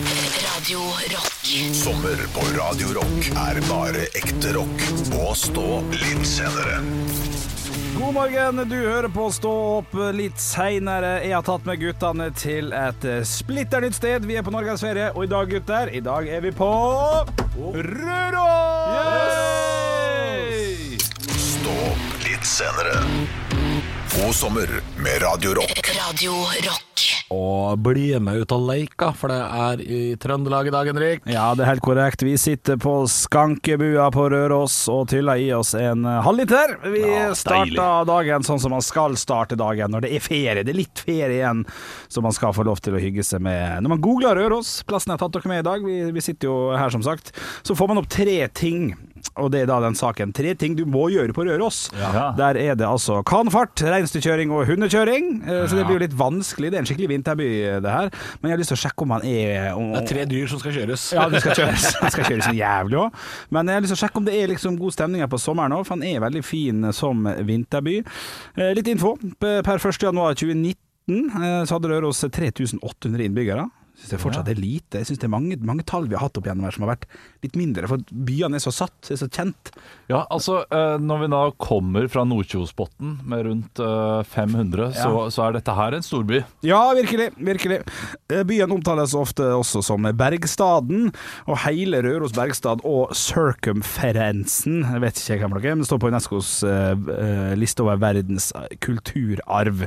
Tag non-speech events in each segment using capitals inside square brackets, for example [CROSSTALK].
Radio Rock. Sommer på Radio Rock er bare ekte rock. Og stå litt senere. God morgen, du hører på Stå opp litt seinere. Jeg har tatt med guttene til et eh, splitter nytt sted. Vi er på norgesferie, og i dag, gutter, i dag er vi på Røros! Stå opp litt senere. God sommer med Radio Rock. Radio Rock. Og bli med ut og leika, for det er i Trøndelag i dag, Henrik. Ja, det er helt korrekt. Vi sitter på skankebua på Røros og tyller i oss en eh, halvliter. Vi Ja, starta dagen sånn som man skal starte dagen når det er ferie. Det er litt ferie igjen, så man skal få lov til å hygge seg med Når man googler Røros, plassen jeg har tatt dere med i dag, vi, vi sitter jo her som sagt, så får man opp tre ting. Og det er da den saken. Tre ting du må gjøre på Røros. Der er det altså kanfart, reinsdyrkjøring og hundekjøring. Eh, Så det blir jo litt vanskelig. Det er en skikkelig vinterby, eh, det her. Men jeg har lyst til å sjekke om man er om, Det er tre dyr som skal kjøres. ja, det skal kjøres, det skal kjøres så jævlig òg. Men jeg har lyst til å sjekke om det er liksom god stemning her på sommeren òg, for den er veldig fin eh, som vinterby. Eh, Litt info. Per 1.1.2019 eh, så hadde Røros 3800 innbyggere. Syns jeg fortsatt er lite. Jeg syns det er mange, mange tall vi har hatt opp gjennom her som har vært litt mindre, for byene er så satt, er så kjent. Ja, altså eh, Når vi da kommer fra Nordkjosbotn med rundt eh, 500, så, så er dette her en storby. Ja, virkelig. virkelig. Eh, Byen omtales ofte også som Bergstaden, og hele Røros Bergstad og Circumferensen jeg vet ikke hvem dere er, men står på UNESCOs eh, eh, liste over verdens eh, kulturarv.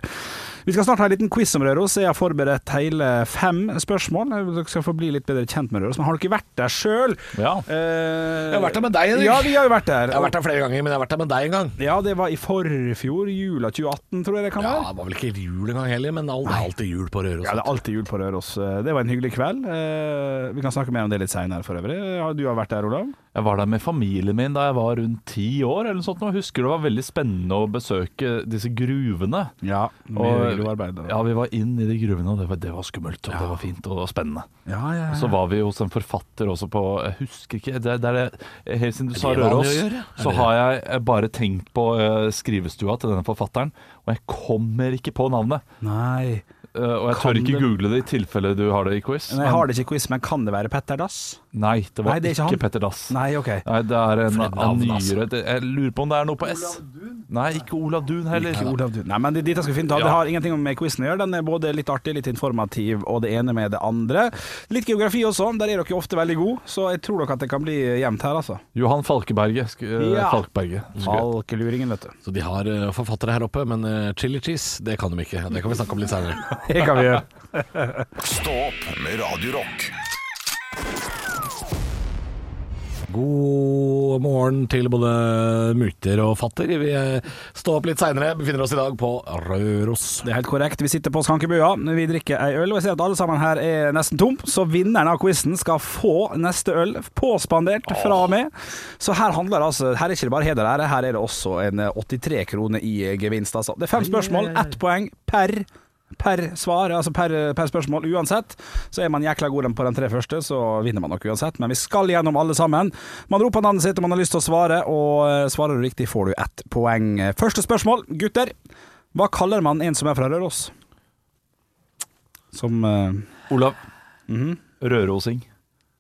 Vi skal snart ha en liten quiz om Røros. Jeg har forberedt hele fem spørsmål. Dere skal få bli litt bedre kjent med Røros. Men har dere vært der sjøl? Ja. Jeg Jeg har vært der med deg, Henrik. Ja, vi har jo vært der. [LAUGHS] Jeg har vært der flere ganger, men jeg har vært der med deg en gang. Ja, det var i forfjor. Jula 2018, tror jeg det kan Ja, være. Det var vel ikke jul engang heller, men all- det er alltid jul på Røros. Ja, det er alltid jul på Røros. Det var en hyggelig kveld. Eh, Vi kan snakke mer om det litt seinere for øvrig. Ja, Du har vært der, Olav? Jeg var der med familien min da jeg var rundt ti år. eller noe sånt. Jeg husker det var veldig spennende å besøke disse gruvene. Ja. Og- gruvearbeid. Ja, Vi var inn i de gruvene, og det var, det var skummelt og det var fint og det var spennende. ja, ja. Og Så var vi hos en forfatter også på Jeg husker ikke det, det er det, Helt siden du sa det vanlig Røros, å gjøre? Er så det- har jeg eh, bare tenkt på eh, skrivestua til denne forfatteren, og jeg kommer ikke på navnet. Nei. Eh, og jeg Kan tør ikke det- google det i tilfelle du har det i quiz. Men jeg har det ikke i quiz, men kan det være Petter Dass? Nei, det var Nei, det er ikke ikke, han. Petter Dass. Nei, OK. Nei, det er en For et av navn, nyere altså. det, Jeg lurer på om det er noe på S. Nei, ikke Olav Duun heller. Ikke Olav, du. Nei, men det, dette skal vi finne ut av. Det Ja. har ingenting med quizen å gjøre. Den er både litt artig, litt informativ, og det ene med det andre. Litt geografi også, der er dere ofte veldig gode, så jeg tror nok at det kan bli jevnt her, altså. Johan Falkeberget. sk- eh, Ja. Falkberget. Skulle- Falkeluringen, vet du. Så de har eh, forfattere her oppe, men eh, chili cheese, det kan de ikke. Det kan vi snakke om litt seinere. [LAUGHS] Det kan vi gjøre. Stå opp med Radio Rock. God morgen til både mutter og fatter. Vi eh, står opp litt seinere, befinner oss i dag på Røros. Det er helt korrekt. Vi sitter på skankebua, vi drikker ei øl, og jeg ser at alle sammen her er nesten tom, så vinneren av quizen skal få neste øl påspandert fra meg. Så her handler det altså Her er ikke det bare heder og ære, her er det også en eh, 83 kroner i eh, gevinst, altså. Det er fem spørsmål, ett poeng per Per svar, altså per, per spørsmål uansett. Så er man jækla god på de tre første, så vinner man nok uansett. Men vi skal gjennom alle sammen. Man roper navnet sitt om man har lyst til å svare, og eh, svarer du riktig, får du ett poeng. Første spørsmål, gutter. Hva kaller man en som er fra Røros? Som eh, Olav. Mhm. Rørosing.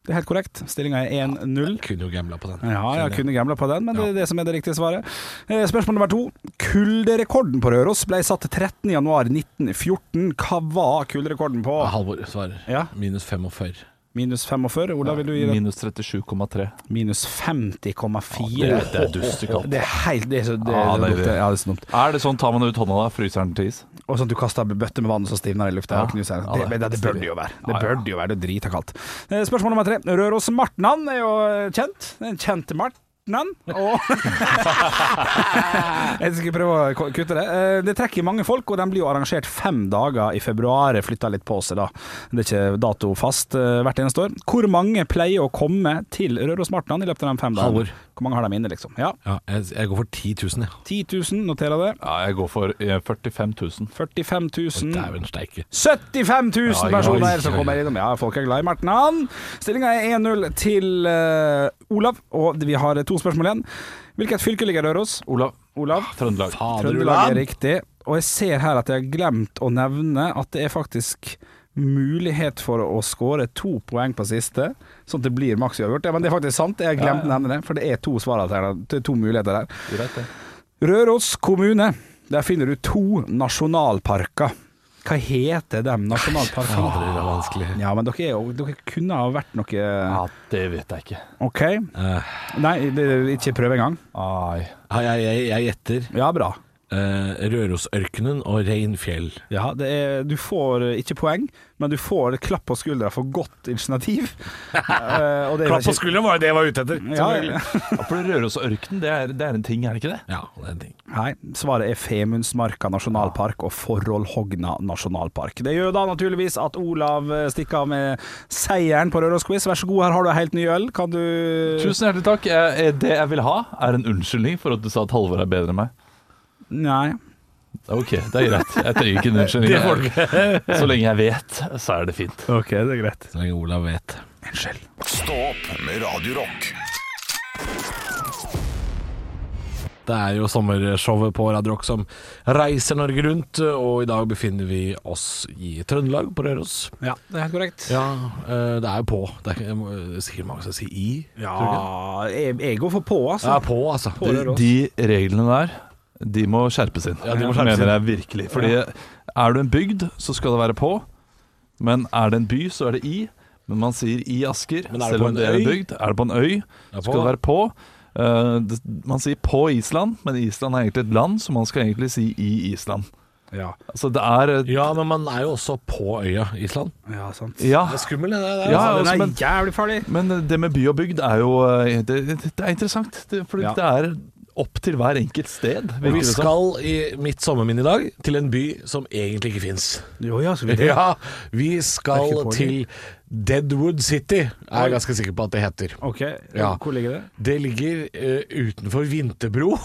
Det er helt korrekt. Stillinga er 1-0. Kunne jo gambla på den. Ja, jeg kunne gamla på den, men det er det som er det riktige svaret. Eh, Spørsmål nummer to. Kulderekorden på Røros ble satt 13.1.1914. Hva var kulderekorden på? Halvor svarer. Ja. Minus 45. Minus 45. Olav, vil du gi det? Minus 37,3. Minus 50,4. Det er dustekaldt. Det er helt Det er så det, det Ja, det er lukter- det. ja, det er så dumt. Er det sånn tar man ut hånda da, fryser den til is? Og sånn at du kaster bøtter med vann, og så stivner det i lufta. Ja. og knuser den. Ja, Det, det- det, det bør det jo være. Det Ja, ja. bør det jo være. Det er drita kaldt. Eh, Spørsmål nummer tre. Røros Martnan er jo eh, kjent. Det er En kjent Martnan. Og [LAUGHS] Jeg skal prøve å k- kutte det. Eh, Det trekker mange folk, og den blir jo arrangert fem dager i februar. Flytta litt på seg, da. Det er ikke dato fast eh, hvert eneste år. Hvor mange pleier å komme til Røros Martnan i løpet av de fem Halvor. dagene? Hvor mange har de inne, liksom? Ja. Ja, jeg, jeg går for 10 000, jeg. 10 000, noterer jeg det. Ja, jeg går for eh, 45 000. 45 000. Dæven steike. 75 000 Oi, personer oi, som oi. kommer innom. Ja, folk er glad i Marten Han. Stillinga er 1-0 til eh, Olav, og vi har to spørsmål igjen. Hvilket fylke ligger Røros? Olav. Olav? Trøndelag. Fader, Trøndelag Olav. er riktig. Og jeg ser her at jeg har glemt å nevne at det er faktisk mulighet for å skåre to poeng på siste, sånn at det blir maks uavgjort. Ja, men det er faktisk sant, jeg glemte å nevne det, for det er to svaralternativ, det er to muligheter der. Greit, det. Røros kommune, der finner du to nasjonalparker. Hva heter de nasjonalparkene? er vanskelig. Ja, men dere, er jo, dere kunne ha vært noe Ja, Eh. det vet jeg ikke. OK? Nei, det, ikke prøv engang. Ai. Jeg, jeg, jeg gjetter Ja, bra. eh, Rørosørkenen og Reinfjell. Ja, det er, du får eh, ikke poeng, men du får et klapp på skuldra for godt initiativ. Eh, og det er jo ikke- skulderen var jo det jeg var ute etter. Ja, selvfølgelig. Ja, for Rørosørkenen, det, er- det er en ting, er det ikke det? Ja, det er en ting. Nei, svaret er Femundsmarka nasjonalpark og Forholdhogna nasjonalpark. Det gjør da naturligvis at Olav eh, stikker av med seieren på Rørosquiz. Vær så god, her har du en helt ny øl. Kan du Tusen hjertelig takk. Eh, eh, Det jeg vil ha, er en unnskyldning for at du sa at Halvor er bedre enn meg. Nei. Ok, det er greit. Jeg trenger ikke en unnskyldning. [LAUGHS] Så lenge jeg vet, så er det fint. Ok, det er greit. Så lenge Olav vet. Unnskyld. Stå opp med Radio Rock. Det er jo sommershowet på Radio Rock som reiser Norge rundt, og i dag befinner vi oss i Trøndelag, på Røros. Ja, det er helt korrekt. Ja, eh, det er jo på. Det er ikke- jeg må- eh, sikkert mange som sier i. Ja, jeg, jeg går for på, Ja, altså. på, altså. På Røros. De reglene der, de må skjerpes inn. Ja, de må skjerpes mener jeg virkelig. Fordi er du en bygd, så skal det være på. Men er det en by, så er det i. Men man sier i Asker, Men er det selv på om en det er en øy? bygd. Er det på en øy, Ja, skal det være på. Eh, det, man sier på Island, men Island er egentlig et land, så man skal egentlig si i Island. Ja, Altså det er Ja, men man er jo også på øya Island. ja sant. Ja. Det er skummelt, det der. altså. Ja, altså, Den er men- jævlig farlig. Men eh, det med by og bygd er jo eh, Det, det det er interessant, det, fordi Ja. det er opp til hver enkelt sted. Og virker vi det som. skal i mitt sommerminne i dag til en by som egentlig ikke fins. Jo, ja, skal vi det? Ja, vi Det er skal ikke på til Deadwood City, er jeg ganske sikker på at det heter. Ok, Ja. hvor ligger det? Det ligger eh, utenfor [LAUGHS] Vinterbro.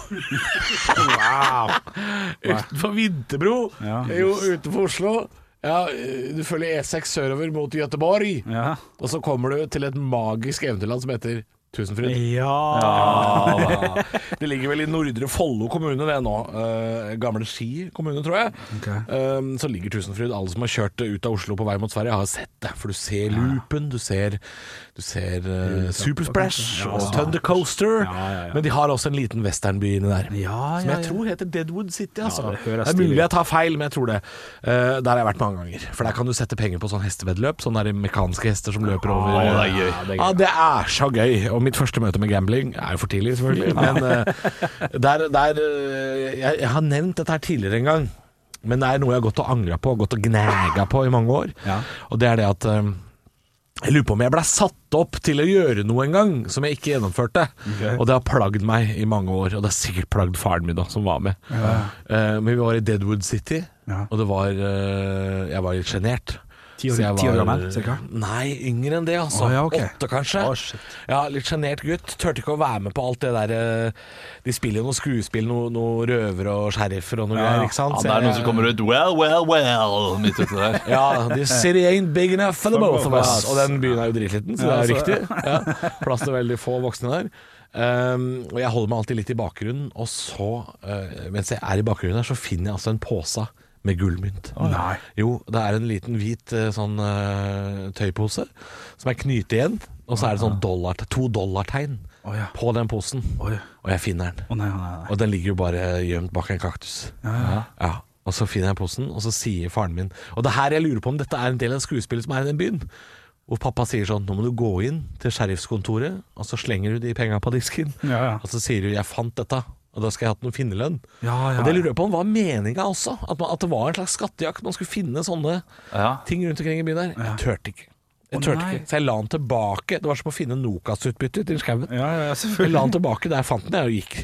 wow! [LAUGHS] utenfor Vinterbro, Ja. Det er jo utenfor Oslo. Ja, eh, du følger E6 sørover mot Göteborg, Ja. og så kommer du til et magisk eventyrland som heter Tusenfryd. Ja. Ja. [LAUGHS] Det ligger vel i Nordre Follo kommune, det nå. Eh, gamle Ski kommune, tror jeg. Ok. Eh, så ligger Tusenfryd. Alle som har kjørt ut av Oslo på vei mot Sverige, har sett det. For du ser loopen, du ser, du ser eh, Supersplash Ja, og ja. Thundercoaster. Ja, ja, ja. Men de har også en liten westernby inni der. Ja, ja, Som jeg ja. tror heter Deadwood City. Altså. det det, høres er stilig mulig ut. jeg tar feil, men jeg tror det. Eh, der har jeg vært mange ganger. For der kan du sette penger på sånn hesteveddeløp. Sånne der mekaniske hester som løper over. Å, det er gøy. Ja, det er, så gøy. Og mitt første møte med gambling er jo for tidlig, selvfølgelig. Men eh, der, der eh, jeg, jeg har nevnt dette her tidligere en gang. Men det er noe jeg har gått og angra på, gått og gnega på i mange år. Ja. Og det er det at eh, jeg lurer på om jeg ble satt opp til å gjøre noe en gang som jeg ikke gjennomførte. Og det har plagd meg i mange år, og det har sikkert plagd faren min da, som var med. Eh, men vi var i Deadwood City, Ja. og det var eh, Jeg var litt sjenert. Ti år- Så jeg ti år var- gammel, cirka? Nei, yngre enn det, Å, altså. ja, ok. Åtte, kanskje. Å, shit. ja, Litt sjenert gutt. Turte ikke å være med på alt det der eh, De spiller jo noe skuespill, noe, noe røvere og sheriffer og noe Ja, ja. greier, ikke sant? Ja, Så det er noen jeg- som kommer ut Well, well, well midt ute der. [LAUGHS] ja, this city ain't big enough for the both of us. Og den byen er jo dritliten, så det er Ja, jo riktig. Ja, plass til veldig få voksne der. Um, og jeg holder meg alltid litt i bakgrunnen, og så, uh, mens jeg er i bakgrunnen her, så finner jeg altså en pose med gullmynt. nei. Jo, det er en liten hvit eh, sånn eh, tøypose som er knytet igjen, og så er det sånn dollar, to dollartegn Å, ja. på den posen. Oi. Og jeg finner den. Å nei, nei, nei. Og den ligger jo bare gjemt bak en kaktus. Ja. Og så finner jeg posen, og så sier faren min Og det er her jeg lurer på om dette er en del av skuespillet som er i den byen. Hvor pappa sier sånn Nå må du gå inn til sheriffskontoret, og så slenger du de penga på disken. Ja, ja. Og så sier du 'jeg fant dette', og da skal jeg ha hatt noe finnerlønn. Ja, ja, Og det ja. lurer jeg på om var meninga også. At, man, at det var en slags skattejakt. Man skulle finne sånne Ja. ting rundt omkring i byen der. Jeg turte ikke. Jeg Å, tørte nei. ikke. Så jeg la den tilbake. Det var som å finne Nokas-utbytte ute i skauen. Ja, ja, ja, Jeg la selvfølgelig. den tilbake der jeg fant den, jeg, og gikk.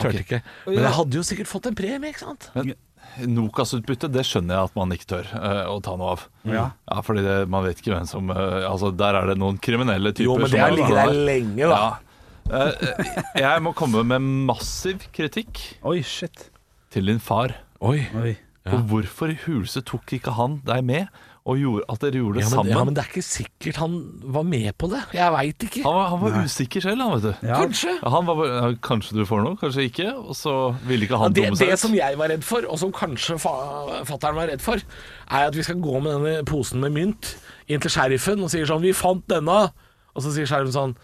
Tørte ikke. Men jeg hadde jo sikkert fått en premie, ikke sant? Men Nokas-utbytte, det skjønner jeg at man ikke tør eh, å ta noe av. Ja. fordi det, man vet ikke hvem som eh, Altså, der er det noen kriminelle typer Jo, men det som har ligget Ja. der lenge, da. Ja. Eh, jeg må komme med massiv kritikk Oi, shit. til din far. Oi. Oi. For hvorfor i huleste tok ikke han deg med og gjorde, at dere gjorde det Ja men, sammen. ja, men det er ikke sikkert han var med på det. Jeg veit ikke. Han var, han var usikker selv, han, vet du. Ja. Kanskje. Ja, han var bare, ja, kanskje du får noe, kanskje ikke. Og så ville ikke Ja, han det, dumme seg det ut. som jeg var redd for, og som kanskje fa fattern var redd for, er at vi skal gå med denne posen med mynt inn til sheriffen og sier sånn 'Vi fant denne', og så sier sheriffen sånn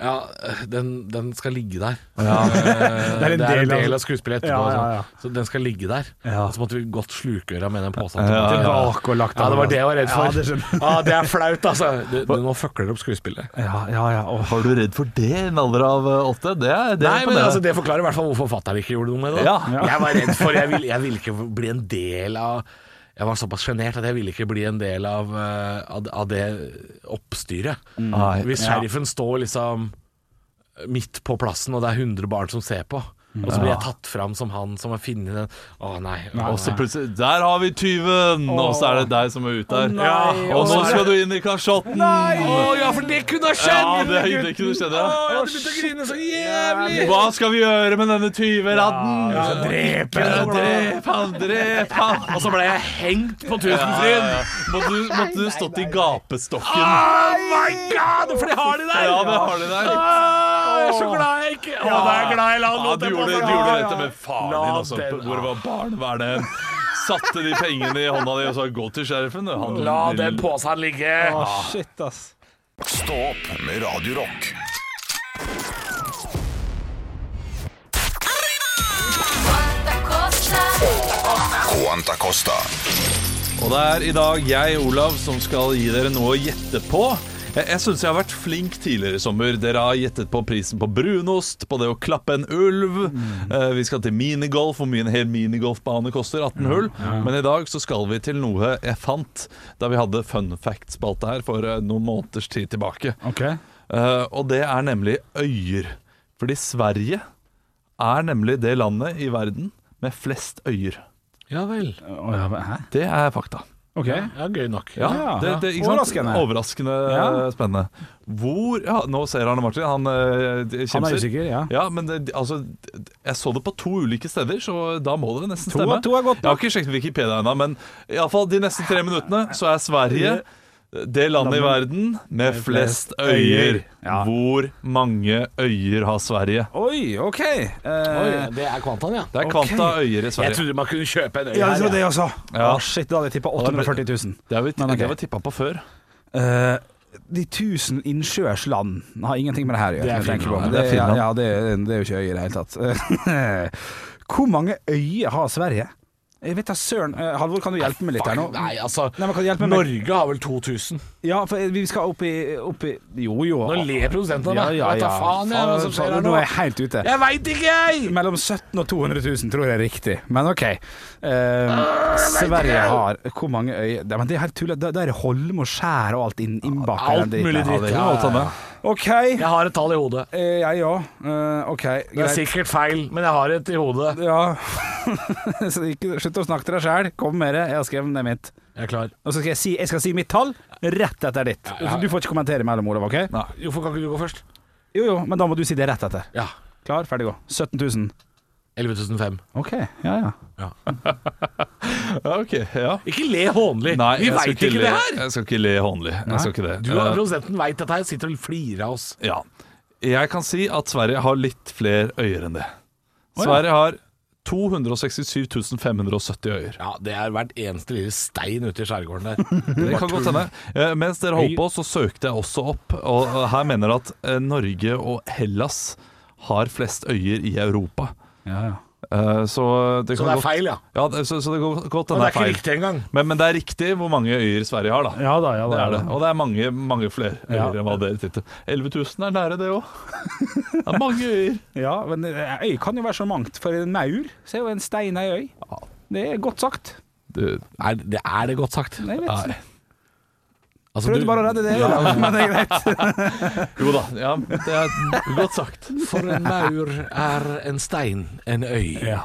ja, den, den skal ligge der. [LAUGHS] Eh, Det er en del av- av skuespillet etterpå. Ja, og ja, ja. sånn. Så den skal ligge der. Ja. Og Så måtte vi godt sluke øra med den posen. Ja, ja, ja. Tilbake og lagt Ja, det var det jeg var redd for. Ja, det skjønner Ja, det er flaut, altså. Du, du, nå fuckler du opp skuespillet. Ja, ja, ja. Åh. Var du redd for det i en alder av eh, åtte? Det er det. Nei, er men imponerende. altså, Det forklarer i hvert fall hvorfor fatter'n ikke gjorde noe med det. da. Ja. Jeg var redd for Jeg ville jeg ville ikke bli en del av Jeg var såpass sjenert at jeg ville ikke bli en del av, eh, av, av det oppstyret. Nei. Hvis sheriffen står liksom midt på plassen, og det er 100 barn som ser på, og så blir jeg tatt fram som han som har funnet den Å nei. Og så Å, nei. plutselig Der har vi tyven! Og så er det deg som er ute der. nei. Ja, og Og så nå er skal du inn i kasjotten! Å ja, for det kunne ha skjedd! Ja, det, det kunne du skjønne. Å, jeg Ja. hadde begynt å grine så jævlig! Hva skal vi gjøre med denne tyveradden? Drep Ja, Drep han, drep han! Og så ble jeg hengt på Ja, Tusenfryd! ja. Måtte du, måtte du stått i gapestokken? Oh my god, for det har de der! Ja, det har de der. Ah, jeg er så glad jeg ikke Å, det er glad jeg la den Ja, du låten gjorde, du på. gjorde dette med faren din altså. La også, den- hvor det var barnevernet. Satte de pengene i hånda di og sa 'gå til sheriffen'. du, Han, La den posen ligge. Ah, Shit, ass. Stå opp med Radio Rock. Quanta Costa. Og det er i dag jeg, Olav, som skal gi dere noe å gjette på. Jeg, jeg syns jeg har vært flink tidligere i sommer. Dere har gjettet på prisen på brunost, på det å klappe en ulv. Mm. Eh, vi skal til minigolf, hvor mye en hel minigolfbane koster. 18 hull. Men i dag så skal vi til noe jeg fant da vi hadde fun fact-spalte her for eh, noen måneders tid tilbake. Ok. Eh, og det er nemlig øyer. Fordi Sverige er nemlig det landet i verden med flest øyer. Ja vel. Å, ja, men- hæ? Det er fakta. Ok. Ja, gøy nok. Ja, Ja, det, det, ikke sant? overraskende. Overraskende Ja. eh, spennende. Hvor ja, Nå ser Arne Martin, han eh, d- Han er kimser. usikker, ja. Ja, men det, altså d- Jeg så det på to ulike steder, så da må det nesten To- stemme. to er godt nok. Jeg har ikke sjekket Wikipedia ennå, men iallfall de neste tre minuttene så er Sverige det landet i verden med flest øyer. Ja. Hvor mange øyer har Sverige? Oi, ok. Eh, Oi, det er kvantaen, ja. Det er kvanta øyer i Jeg Sverige. trodde man kunne kjøpe en øy Ja, jeg her. trodde det også. Ja. Å, shit, da hadde jeg tippa 840 000. Det har vi, Men ok. det har vi tippa på før. Eh, de tusen innsjøers land har ingenting med det her å gjøre. Det er når jeg tenker på Det, Finland. Det er Finland. Ja, det, er- det er jo ikke øyer i det hele tatt. [LAUGHS] Hvor mange øyer har Sverige? Jeg vet da søren. Eh, Halvor, kan du hjelpe meg litt her nå? Fuck, Nei, altså. Nei, men kan du hjelpe meg? Norge har vel 2000. Ja, for vi skal opp i, opp i Jo, jo. Nå ler produsenten av Ja, meg. ja, Vet da ja. faen jeg hva som skjer Nå her nå. er jeg helt ute. Jeg veit ikke, jeg! Mellom 17 og 200 000 tror jeg er riktig, men ok. Eh, Ah, Sverige har Hvor mange øyer Nei, men Det er helt tull. Da da er det Holm og skjær og alt inn, innbakt i Alt den dritten. mulig dritt, ja, ja, ja. OK. Jeg har et tall i hodet. Eh, Jeg òg. Eh, OK, Det er greit. sikkert feil, men jeg har et i hodet. Ja. [LAUGHS] Så ikke, slutt å snakke til deg sjæl. Kom med det. Jeg har skrevet ned mitt. Jeg er klar. Og så skal jeg si, jeg skal si mitt tall rett etter ditt. ja. Du får ikke kommentere imellom, Olav. ok? Nei. Hvorfor kan ikke du gå først? Jo, jo, men da må du si det rett etter. Ja. Klar, ferdig, gå. 17 000. 11005. OK. Ja, ja. Ja, ok, ja. Ikke le hånlig. Nei, Vi jeg skal veit ikke le, det her. Jeg skal ikke le hånlig. Jeg skal ikke det. Du og Eh, produsenten veit dette her, sitter og flirer av oss. ja. Jeg kan si at Sverige har litt flere øyer enn det. Sverige har 267 570 øyer. Ja, det er hvert eneste lille stein ute i skjærgården [LAUGHS] der. Det kan godt hende. Eh, Mens dere holdt på, så søkte jeg også opp, og eh, her mener det at eh, Norge og Hellas har flest øyer i Europa. ja, ja. Eh, Så det, Så kan det er godt- feil, ja. Ja, det- så, så det går godt Og det er hende det ikke er feil. riktig engang. Men, men det er riktig hvor mange øyer Sverige har, da. Ja da, ja da. Det ja er det. da. Og det er mange, mange flere øyer Ja. enn hva dere tittet. 11 000 er nære, det òg. [LAUGHS] Det er mange øyer. Ja, men eh, øy kan jo være så mangt. For en maur så er jo en stein ei øy. Det er godt sagt. Er det, er det godt sagt? Nei, jeg vet. Nei. Altså, Prøvde bare å redde det, Olav, [LAUGHS] men det er greit. Jo da, ja, det er godt sagt. For en maur er en stein, en øy. Ja,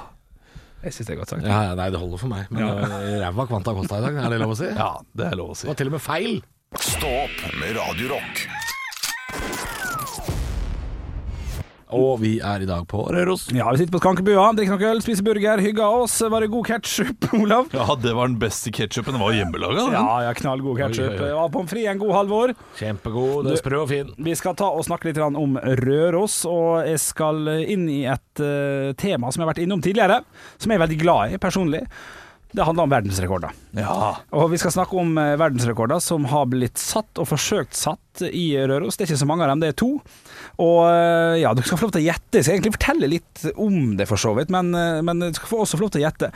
Jeg syns det er godt sagt. ja, Nei, det holder for meg. Men eh, ræva kvanta kosta i dag, er det lov å si? Ja, det er lov å Det si. var til og med feil. Stå opp med Radio Rock. Og vi er i dag på Røros. Ja, vi sitter på skankebua, drikker noe øl, spiser burger, hygger oss. Var det god ketsjup, [LAUGHS] Olav? Ja, det var den beste ketsjupen. Den var hjemmelaga, den. Ja, ja, knallgod ketsjup. Oi, oi, oi. Pommes frites en god halvår. Kjempegod, den er sprø og fin. Vi skal ta og snakke litt grann om Røros, og jeg skal inn i et eh, tema som jeg har vært innom tidligere, som jeg er veldig glad i personlig. Det handler om verdensrekorder. Ja. Og vi skal snakke om eh, verdensrekorder som har blitt satt og forsøkt satt i Røros. Det er ikke så mange av dem, det er to. Og eh, ja, dere skal få lov til å gjette. Jeg skal egentlig fortelle litt om det, for så vidt, men, eh, men dere skal få også få lov til å gjette.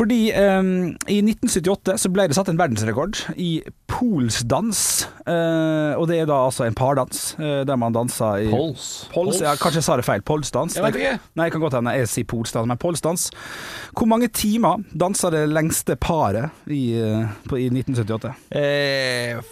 Fordi eh, i 1978 så ble det satt en verdensrekord i polsdans. Eh, og det er da altså en pardans, eh, der man danser i Pols. Pols, ja, kanskje jeg sa det feil. Polsdans. Jeg vet ikke. Nei, jeg kan godt hende jeg sier polsdans, men polsdans. Hvor mange timer dansa det lengste paret i, eh, på, i 1978? Eh,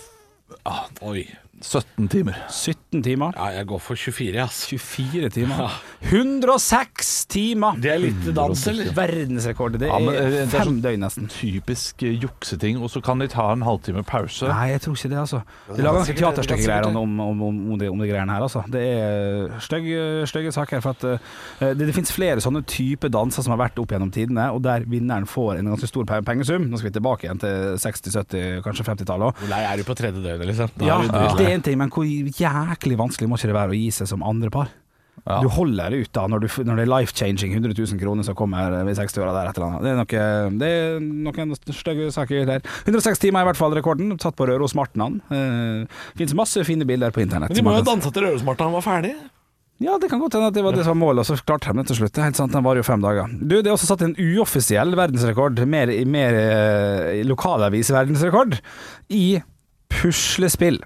ah, oi. 17 timer. 17 timer. Ja, jeg går for 24, ass. 24 timer. 106 timer! Det er litt dans, eller? Verdensrekord. Det Ja, men, eh, er det er fem sånn- så- døgn, nesten. Typisk eh, jukseting. Og så kan de ta en halvtime pause. Nei, jeg tror ikke det, altså. De lager noen sikkert- det er teaterstykkegreier sikkert- om, om, om, om, de, om de greiene her, altså. Det er stygge, stygge saker. For at eh, det, det finnes flere sånne type danser som har vært opp gjennom tidene, og der vinneren får en ganske stor pe- pengesum. Nå skal vi tilbake igjen til 60-, 70-, kanskje 50-tallet òg. Hvor lei er du på tredje døgnet, liksom? Da Ja, er du det er en ting, men hvor jæklig vanskelig må ikke det være å gi seg som andre par? Ja. Du holder det ut da, når, du, f- når det er life-changing, 100 000 kroner som kommer ved 60-åra der, et eller annet. Det er, noe, det er noen stygge saker der. 106 timer er i hvert fall rekorden, satt på Røros Martnan. Eh, Fins masse fine bilder på internett. Men de må som jo ha man kan- dansa til Rørosmarta han var ferdig. Ja, det kan godt hende at det var det som var målet, og så klarte de det til slutt. Det er helt sant, den varer jo fem dager. Du, det er også satt en uoffisiell verdensrekord, mer, mer eh, lokalavis-verdensrekord, i puslespill.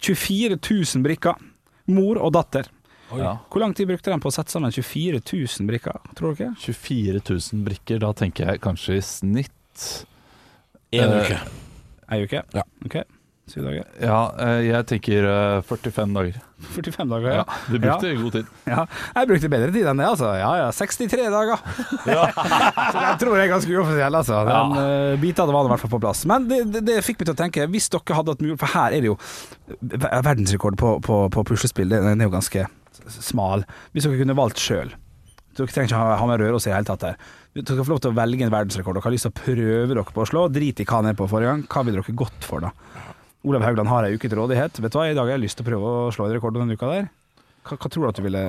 24 000 brikker. Mor og datter. Ja. Hvor lang tid brukte de på å sette sammen 24 000 brikker, tror dere? 24 000 brikker. Da tenker jeg kanskje i snitt En Eh, uke. Ei uke? Ja. Ok, syv dager. Ja, eh, jeg tenker eh, 45 dager. 45 dager, Ja, ja. Du brukte god tid. [LAUGHS] ja. Jeg brukte bedre tid enn det, altså. Ja ja, 63 dager. [LAUGHS] Så jeg tror jeg er ganske uoffisiell, altså. Den eh, biten av det var nå i hvert fall på plass. Men det, det, det fikk meg til å tenke, hvis dere hadde hatt mulighet For her er det jo ver- verdensrekord på, på, på puslespill, den den er jo ganske s- smal. Hvis dere kunne valgt sjøl dere trenger ikke ha- ha med Røros i det hele tatt her. Dere skal få lov til å velge en verdensrekord. Dere har lyst til å prøve dere på å slå. Drit i hva han er på forrige gang. Hva vil dere gått for, da? Olav Haugland har ei uke til rådighet. Vet du hva, i dag har jeg lyst til å prøve å slå en rekord denne uka der. Hva, hva tror du at du ville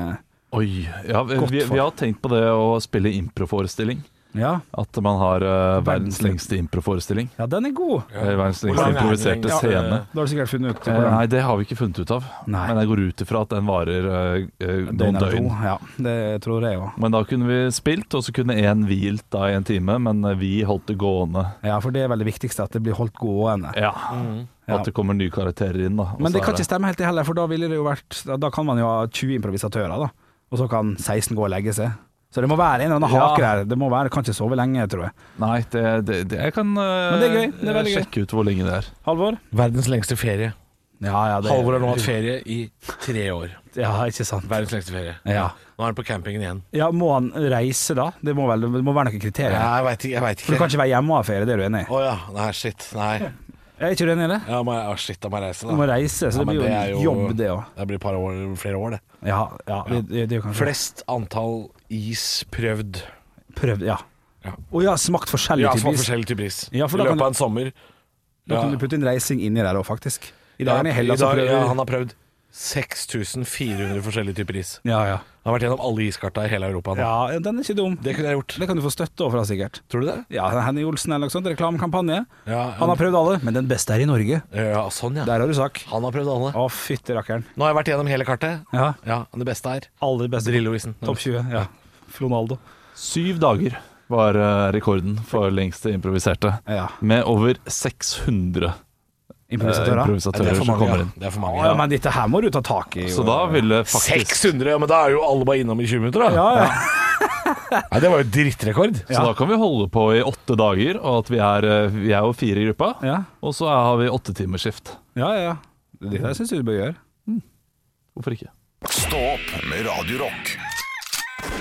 Oi. Ja, vi, Godt vi, for. vi har tenkt på det å spille improforestilling. Ja, At man har eh, verdens Verdens- lengste improforestilling. ja den er god. Eh, Verdens lang lengste er den improviserte lengste? Ja. scene. Da har du sikkert funnet ut Eh, hvordan Nei, det har vi ikke funnet ut av. Nei. Men jeg går ut ifra at den varer eh, eh, noen eller døgn. to. Ja, det tror jeg òg. Men da kunne vi spilt, og så kunne én hvilt da i en time, men eh, vi holdt det gående. Ja, for det er vel det viktigste, at det blir holdt gående. Ja. Ja. At det kommer nye karakterer inn, da. Og Men så det er kan ikke stemme helt det heller, for da ville det jo vært Da kan man jo ha 20 improvisatører, da. Og så kan 16 gå og legge seg. Så det må være en eller annen Ja. hake der. Det må være, kan ikke sove lenge, tror jeg. Nei, det, det, det, jeg kan eh, Men det er gøy, det er veldig gøy. sjekke ut hvor lenge det er. Halvor? Verdens lengste ferie. Ja, ja, det Halvor har nå hatt ferie i tre år. Ja, ikke sant. Verdens lengste ferie. Ja. Nå er han på campingen igjen. ja, må han reise da? Det må, vel, det må være noen kriterier. jeg veit ikke. Jeg vet For du kan ikke være hjemme og ha ferie, det er du enig i? Å ja. Nei, shit. Nei. Er ikke du enig i det? Ja, må jeg, å, shit, da må jeg reise, Du må da. reise, så Ja, det men blir jo det en er jo- jobb, det òg. Det blir et par år, flere år, det. Ja, ja, det, det, det er jo kanskje Flest antall is prøvd. Prøvd, ja. Ja. Og ja, smakt forskjellig Ja, type for is. forskjellig type is. Ja, for da I kan løpet du- av en sommer. Da kan du Ja. putte inn reising inn i det òg, faktisk. I dag er han i Ja, Hellas og dag- prøver ja, han har prøvd 6400 forskjellige typer is. ja, ja. Han har vært gjennom alle iskarta i hele Europa nå. ja, den er ikke dum. Det kunne jeg gjort. Det kan du få støtte overfra, sikkert. Tror du det? Ja, Henny Olsen eller noe sånt, reklamekampanje. Ja, Han har prøvd alle, men den beste er i Norge. ja sånn, ja. Der har du sak. Han har prøvd alle. Å, fytti rakkeren. Nå har jeg vært gjennom hele kartet. Ja, Ja, Det beste er aller beste. Drillo-isen. Topp 20, ja. Flonaldo. Syv dager var eh, rekorden for lengste improviserte. Ja. Med over 600 eh, Improvisatører. Ja, det improvisatører er for som mange. kommer Ja. inn. Det er for Å mange ja, ja. men dette her må du ta tak i. Så da ville faktisk 600, ja, men da er jo alle bare innom i 20 minutter, da. Ja, ja. [LAUGHS] Nei, det var jo drittrekord. Så da kan vi holde på i åtte dager, og at vi er, eh, vi er jo fire i gruppa. Ja, Og så har vi åttetimersskift. ja. ja. Dette her syns jeg du bør gjøre. Hvorfor ikke? Stå opp med Radio Rock.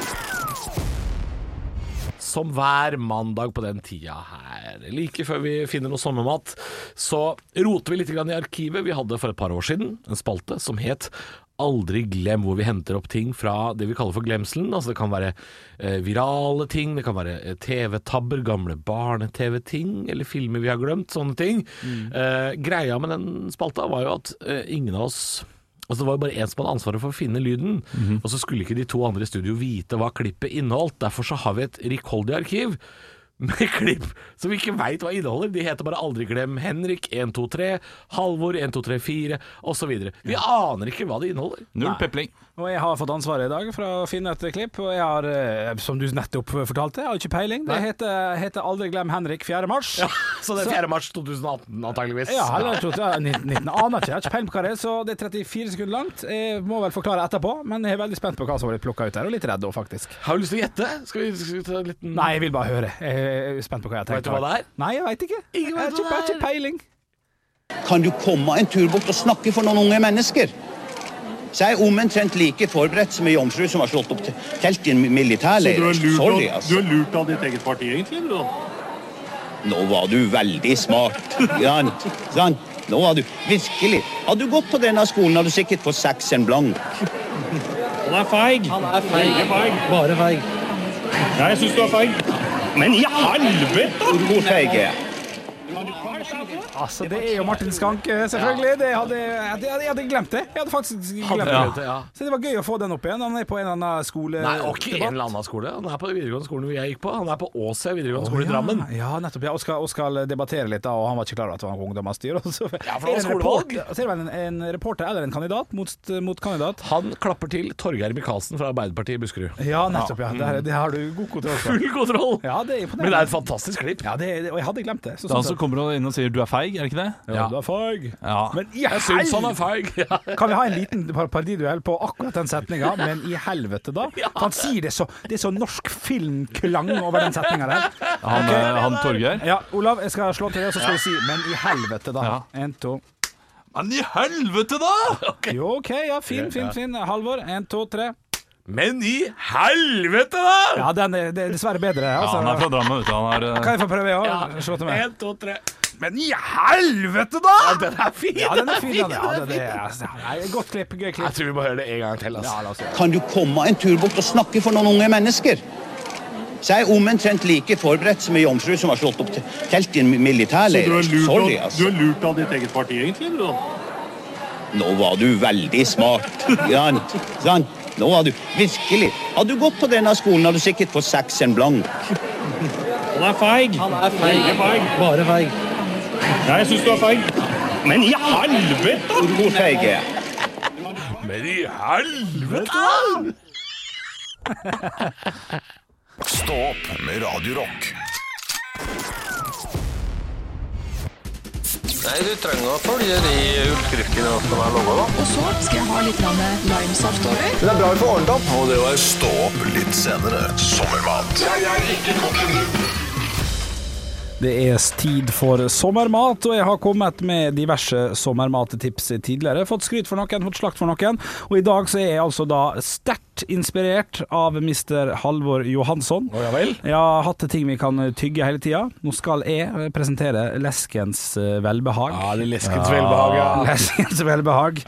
Som hver mandag på den tida her, like før vi finner noe sommermat, så roter vi litt grann i arkivet vi hadde for et par år siden. En spalte som het Aldri glem hvor vi henter opp ting fra det vi kaller for glemselen. Altså Det kan være eh, virale ting, det kan være eh, TV-tabber, gamle barne-TV-ting, eller filmer vi har glemt, sånne ting. Eh, greia med den spalta var jo at eh, ingen av oss Altså Det var jo bare én som hadde ansvaret for å finne lyden. Og så skulle ikke de to andre i studio vite hva klippet inneholdt. Derfor så har vi et rikholdig arkiv med [LAUGHS] klipp som vi ikke veit hva inneholder. De heter bare 'Aldri glem Henrik 123', 'Halvor 1234' osv. Vi aner ikke hva det inneholder. Null pepling. Og jeg har fått ansvaret i dag for å finne et klipp, og jeg har, eh, som du nettopp fortalte, jeg har ikke peiling. Det heter, heter Aldri glem Henrik 4. mars. Ja, Så det er 4. mars 2018 antageligvis. eller jeg tror det er 19, 19 aner ikke, jeg har ikke peiling på hva det er, så det er 34 sekunder langt. Jeg må vel forklare etterpå, men jeg er veldig spent på hva som har blitt plukka ut her, og litt redd òg, faktisk. Har du lyst til å gjette? Skal vi, skal vi ta en liten Nei, jeg vil bare høre. Jeg er spent på hva jeg Vet tenker. du hva det er? Nei, jeg veit ikke. Ingen Jeg vet har ikke, hva jeg har det ikke peiling. Kan du komme en tur bort og snakke for noen unge mennesker? Så jeg er omtrent like forberedt som ei jomfru som har slått opp te- telt i en Så du militærleir. er lurt, Sorry, av, du altså. er lurt av ditt eget parti, egentlig? du da? Nå var du veldig smart. Jan. Jan. Nå var du virkelig Hadde du gått på denne skolen, hadde du sikkert fått sekseren blank. Han er feig. Han er feig. feig. Bare feig. Nei, jeg syns du er feig. Men i helvete! Hvor feig er jeg? Altså, det er jo Martin Skanke, selvfølgelig. Det hadde, jeg, hadde, jeg hadde glemt det. Jeg hadde faktisk glemt det. glemt det, ja. Så det var gøy å få den opp igjen. Han er på en eller annen skole... Nei, og ikke en eller annen skole. Han er på den videregående skolen jeg gikk på. Han er på Åsia videregående skole i Drammen. Ja, ja nettopp. Ja. Og, skal, og skal debattere litt, da, og han var ikke klar over at det var noe ungdomsstyre. Ja, for det var skolevalg. Så er det vel en, en reporter eller en kandidat mot, mot kandidat. Han klapper til Torgeir Micaelsen fra Arbeiderpartiet i Buskerud. Ja, nettopp. Ja. Det, her, det har du god kontroll på. Full kontroll! Ja, det er Men det er et imponerende. fantastisk klipp. Ja, det, er- og jeg hadde glemt det. Så, sånn Det er han som kommer inn og sier 'du er feig', er det ikke det? ja, du er feig. Ja. Men i Jeg syns han er helvete! feig. Ja. Kan vi ha en liten par- parodiduell på akkurat den setninga, men i helvete, da? For han sier det så Det er så norsk filmklang over den setninga [LAUGHS] der. Han, eh, han Torgeir. Ja, Olav, jeg skal slå til det, og så skal du si 'men i helvete', da. En, to. Men i helvete, da! Jo, OK, ja, fin, fin, fin. Halvor, en, to, tre. Men i helvete, da! Ja, den er, det er dessverre bedre. Ja, Altså. han er fra Drammen, vet du. Han er, eh, Kan jeg få prøve òg? Ja. Slå til meg. En, to, tre. Men i helvete, da! Ja, den er fin! Ja, den er fin. Den. Ja, det, det er, altså, nei, godt klipp. Gøy Jeg klipp. tror vi må høre det en gang til. Altså. la oss gjøre det. Kan du komme en tur bort og snakke for noen unge mennesker? Så jeg er omtrent like forberedt som ei jomfru som har slått opp te- telt i en Så militærleir. du er lurt, Sorry, av, du altså. er lurt av ditt eget parti, egentlig? du da? Nå var du veldig smart. Jan. Jan. Nå var du virkelig Hadde du gått på denne skolen, hadde du sikkert fått sekseren blank. Han er feig. Han er feig. feig. Bare feig. Nei, jeg syns du er feig. Men i helvete! Hvor feig er jeg? Men i helvete, da! Stå opp med Radio Rock. Nei, du trenger å følge de utskriftkene som er laga, da. Og så skal jeg ha litt grann limesaft over. Det er bra vi får ordnet opp. Og det var Stå opp litt senere. Sommermat. Det er tid for sommermat, og jeg har kommet med diverse sommermattips tidligere. Fått skryt for noen, fått slakt for noen, og i dag så er jeg altså da sterkt inspirert av Mr. Halvor Johansson. Å, ja vel. Jeg har hatt ting vi kan tygge hele tida. Nå skal jeg presentere leskens eh, velbehag. Ja, det leskens velbehag, ja. Leskens velbehag.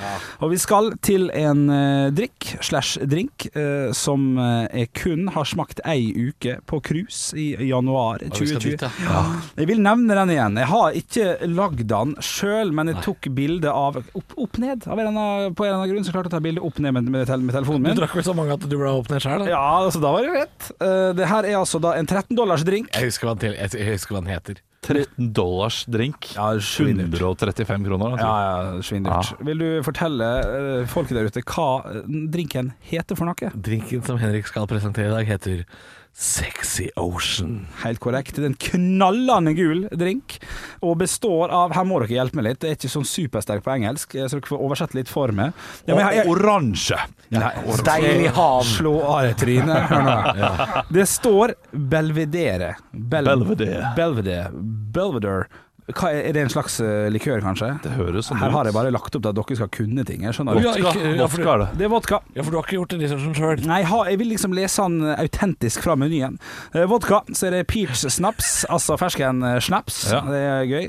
Og vi skal til en eh, drikk slash drink eh, som eh, jeg kun har smakt ei uke på cruise i januar vi skal 2020. dit, ja. Jeg vil nevne den igjen. Jeg har ikke lagd den sjøl, men jeg tok bilde av opp, opp ned. Av en eller annen, på en eller annen grunn så klarte jeg å ta bilde opp ned med, med, tel- med telefonen Du min. drakk vel så mange at du ble åpnet sjøl, da? Ja, altså da var det rett. Eh, det her er altså da en 13 dollars drink. Jeg husker, hva han til, jeg husker hva han heter. 13 dollars drink. Ja, svindyrt. 135 kroner. Ja, ja, svindyrt. Vil du fortelle eh, folket der ute hva eh, drinken heter for noe? Drinken som Henrik skal presentere i dag, heter Sexy Ocean. Helt korrekt. Det er en knallende gul drink, og består av Her må dere hjelpe meg litt, jeg er ikke sånn supersterk på engelsk, eh, så dere får oversette litt for meg. Ja, men jeg- jeg- Oransje. Nei, Deilig hav. Slå av deg trynet. Hør [LAUGHS] nå. Det står Belvedere. Bel Belvedere. Belvedere. Belvedere. Hva er, er det en slags eh, likør, kanskje? Det høres sånn Her ut. har jeg bare lagt opp til at dere skal kunne ting. Jeg skjønner Vodka, det. Ja, ikke- ja, for vodka er det. Det er vodka. Ja, for du har ikke gjort den researchen sjøl. Nei, ha, jeg vil liksom lese han eh, autentisk fra menyen. Eh, vodka, så er det peach snaps, altså fersken eh, snaps. Ja. Det er gøy.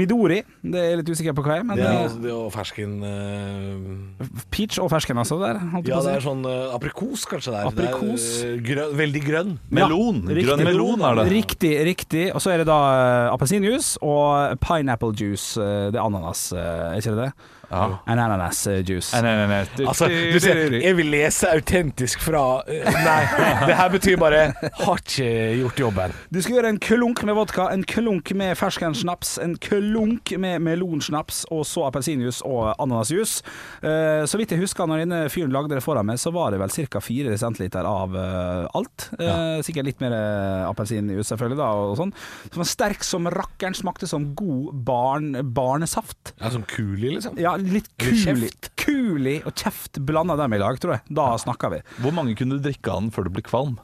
Midori, det er jeg litt usikker på hva er, men Det er, eh, altså- det er jo fersken eh, peach og fersken altså der. holdt jeg Ja, på å si. det er sånn eh, aprikos, kanskje. det er. Aprikos. Det er, eh, grønn, veldig grønn. Melon. Ja, riktig. Grønn melon er det. Riktig, riktig. Og så er det da eh, appelsinjuice og pineapple juice. eh, Det er ananas, eh, er ikke det eh, det? Ja. En ananasjuice. Nei, nei, nei, nei. Du- Altså, du ser, jeg vil lese autentisk fra eh, Nei, det her betyr bare har ikke gjort jobben. Du skal gjøre en klunk med vodka, en klunk med ferskensnaps, en klunk med melonsnaps, og så appelsinjuice og ananasjuice. Eh, så vidt jeg husker, når denne fyren lagde det foran meg, så var det vel ca. 4 centiliter av eh, alt. Eh, Sikkert litt mer eh, appelsinjuice, selvfølgelig, da, og sånn. Som var sterk som rakkeren, smakte som god barn, barnesaft. Ja, sånn kuli, liksom. Ja, litt Eller kuli, kuli og kjeft blanda dem i lag, tror jeg. Da snakker vi. Hvor mange kunne du drikke av den før du ble kvalm?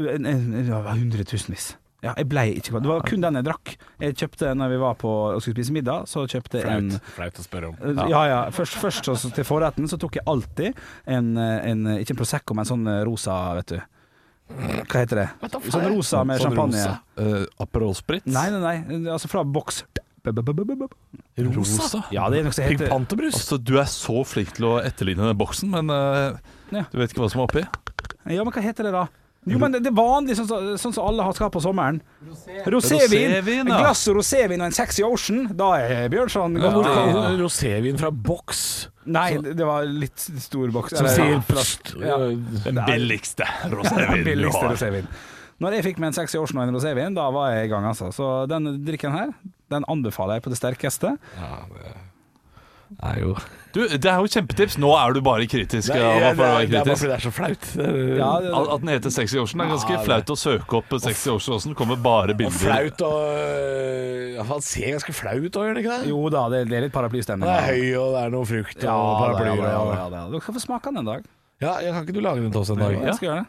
En- en- en- ja, Hundretusenvis. Ja, jeg blei ikke kvalm. Det var kun den jeg drakk. Jeg kjøpte når vi var på og skulle spise middag, så kjøpte jeg en Eh, Flaut, flaut å spørre om. ja, ja. Først, først så, så til forretten så tok jeg alltid en, en Ikke en Prosecco, men sånn rosa, vet du. Hva heter det? Sånn rosa med Sånn champagne. rosa. Uh, Aperol Spritz? Nei, nei, nei. Altså fra boks. Rosa? Ja, det er noe som Pink heter Pantherbrus? Altså, du er så flink til å etterligne den boksen, men eh, Ja. du vet ikke hva som er oppi? Ja, men hva heter det da? Jo, men det, det er vanlig, sånn som sånn som alle har skal på sommeren. Rosévin. Rosévin, Et ja. glass rosévin og en sexy ocean. Da er Bjørnson Ja, godt ja, kalt. Rosévin fra boks Nei, det det var litt stor boks. som Eller- sier Ja. plast. Det er- Billigste den rosévin du billigste har. rosévin. Når jeg fikk meg en sexy ocean og en rosévin, da var jeg i gang, altså. Så den drikken her, den anbefaler jeg på det sterkeste. er jo Du, det er jo kjempetips. Nå er du bare kritisk. Nei, Ava, det, for å er, være det er bare kritisk. fordi det er så flaut. Ja, det, At at den heter Sexy Ocean er ganske Ja, det- flaut å søke opp. Sexy Ocean Åsen kommer bare Og bilder. flaut og øh, ja, Han ser ganske flau ut òg, gjør han ikke det? jo da, det, det er litt paraplystemning. Han er da. høy, og det er noe frukt og Ja, det er- ja, paraplyer. det er- og- ja, det er- Dere skal få smake den en dag. Ja, jeg kan ikke du lage den til oss en dag? Jeg skal gjøre det.